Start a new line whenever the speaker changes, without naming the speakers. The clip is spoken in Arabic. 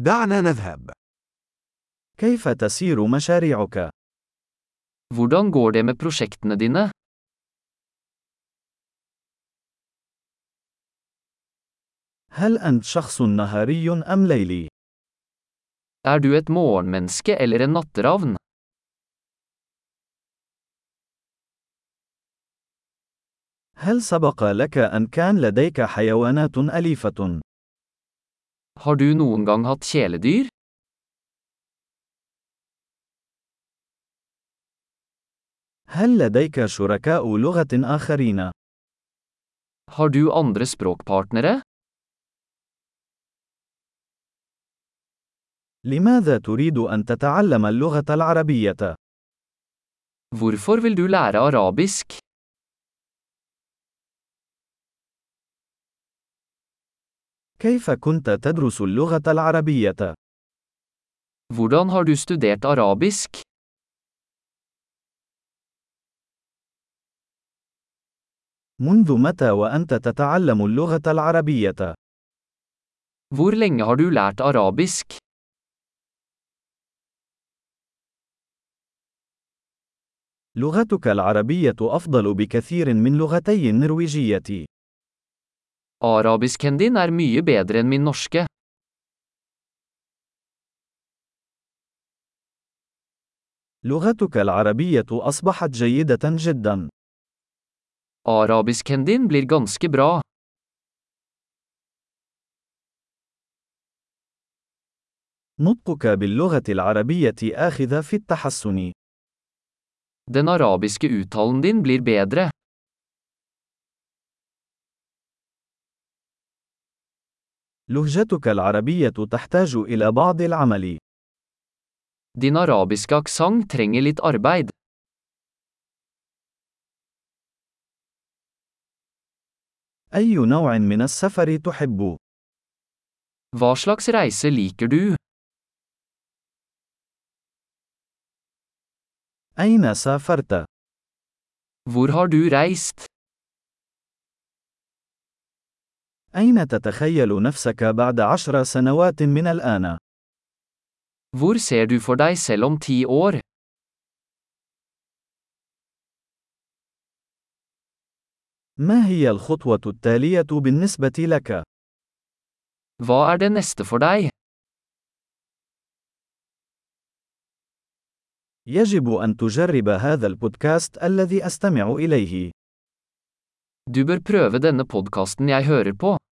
دعنا نذهب.
كيف تسير مشاريعك؟
Hvordan går det med prosjektene dine?
هل أنت شخص نهاري أم ليلي؟
Er du et morgenmenneske eller en natteravn?
هل سبق لك أن كان لديك حيوانات أليفة؟
Har du noen gang hatt kjæledyr?
هل لديك شركاء لغة آخرين؟
Har du andre språkpartnere?
لماذا تريد أن تتعلم اللغة العربية؟
Hvorfor vil du lære arabisk?
كيف كنت تدرس اللغة العربية؟
Hvordan har du studert arabisk?
منذ متى وأنت تتعلم اللغة العربية؟
Hvor lenge har du lært arabisk?
لغتك العربية أفضل بكثير من لغتي النرويجية.
Arabisken din er mye bedre enn min norske.
لغتك العربية أصبحت جيدة جدا.
Arabisken din blir ganske bra.
نطقك باللغة العربية آخذ في التحسن.
Den arabiske uttalen din blir bedre.
لهجتك العربية تحتاج إلى بعض العمل.
Din arabiske aksent trenger litt arbeid.
أي نوع من السفر تحب؟
Hva slags reise liker du?
أين سافرت؟
Hvor har du reist?
أين تتخيل نفسك بعد عشر سنوات من الآن؟
Hvor ser du for deg selv om ti år?
ما هي الخطوة التالية بالنسبة لك؟
Hva er det neste for deg?
يجب أن تجرب هذا البودكاست الذي أستمع إليه.
Du bør prøve denne podkasten jeg hører på.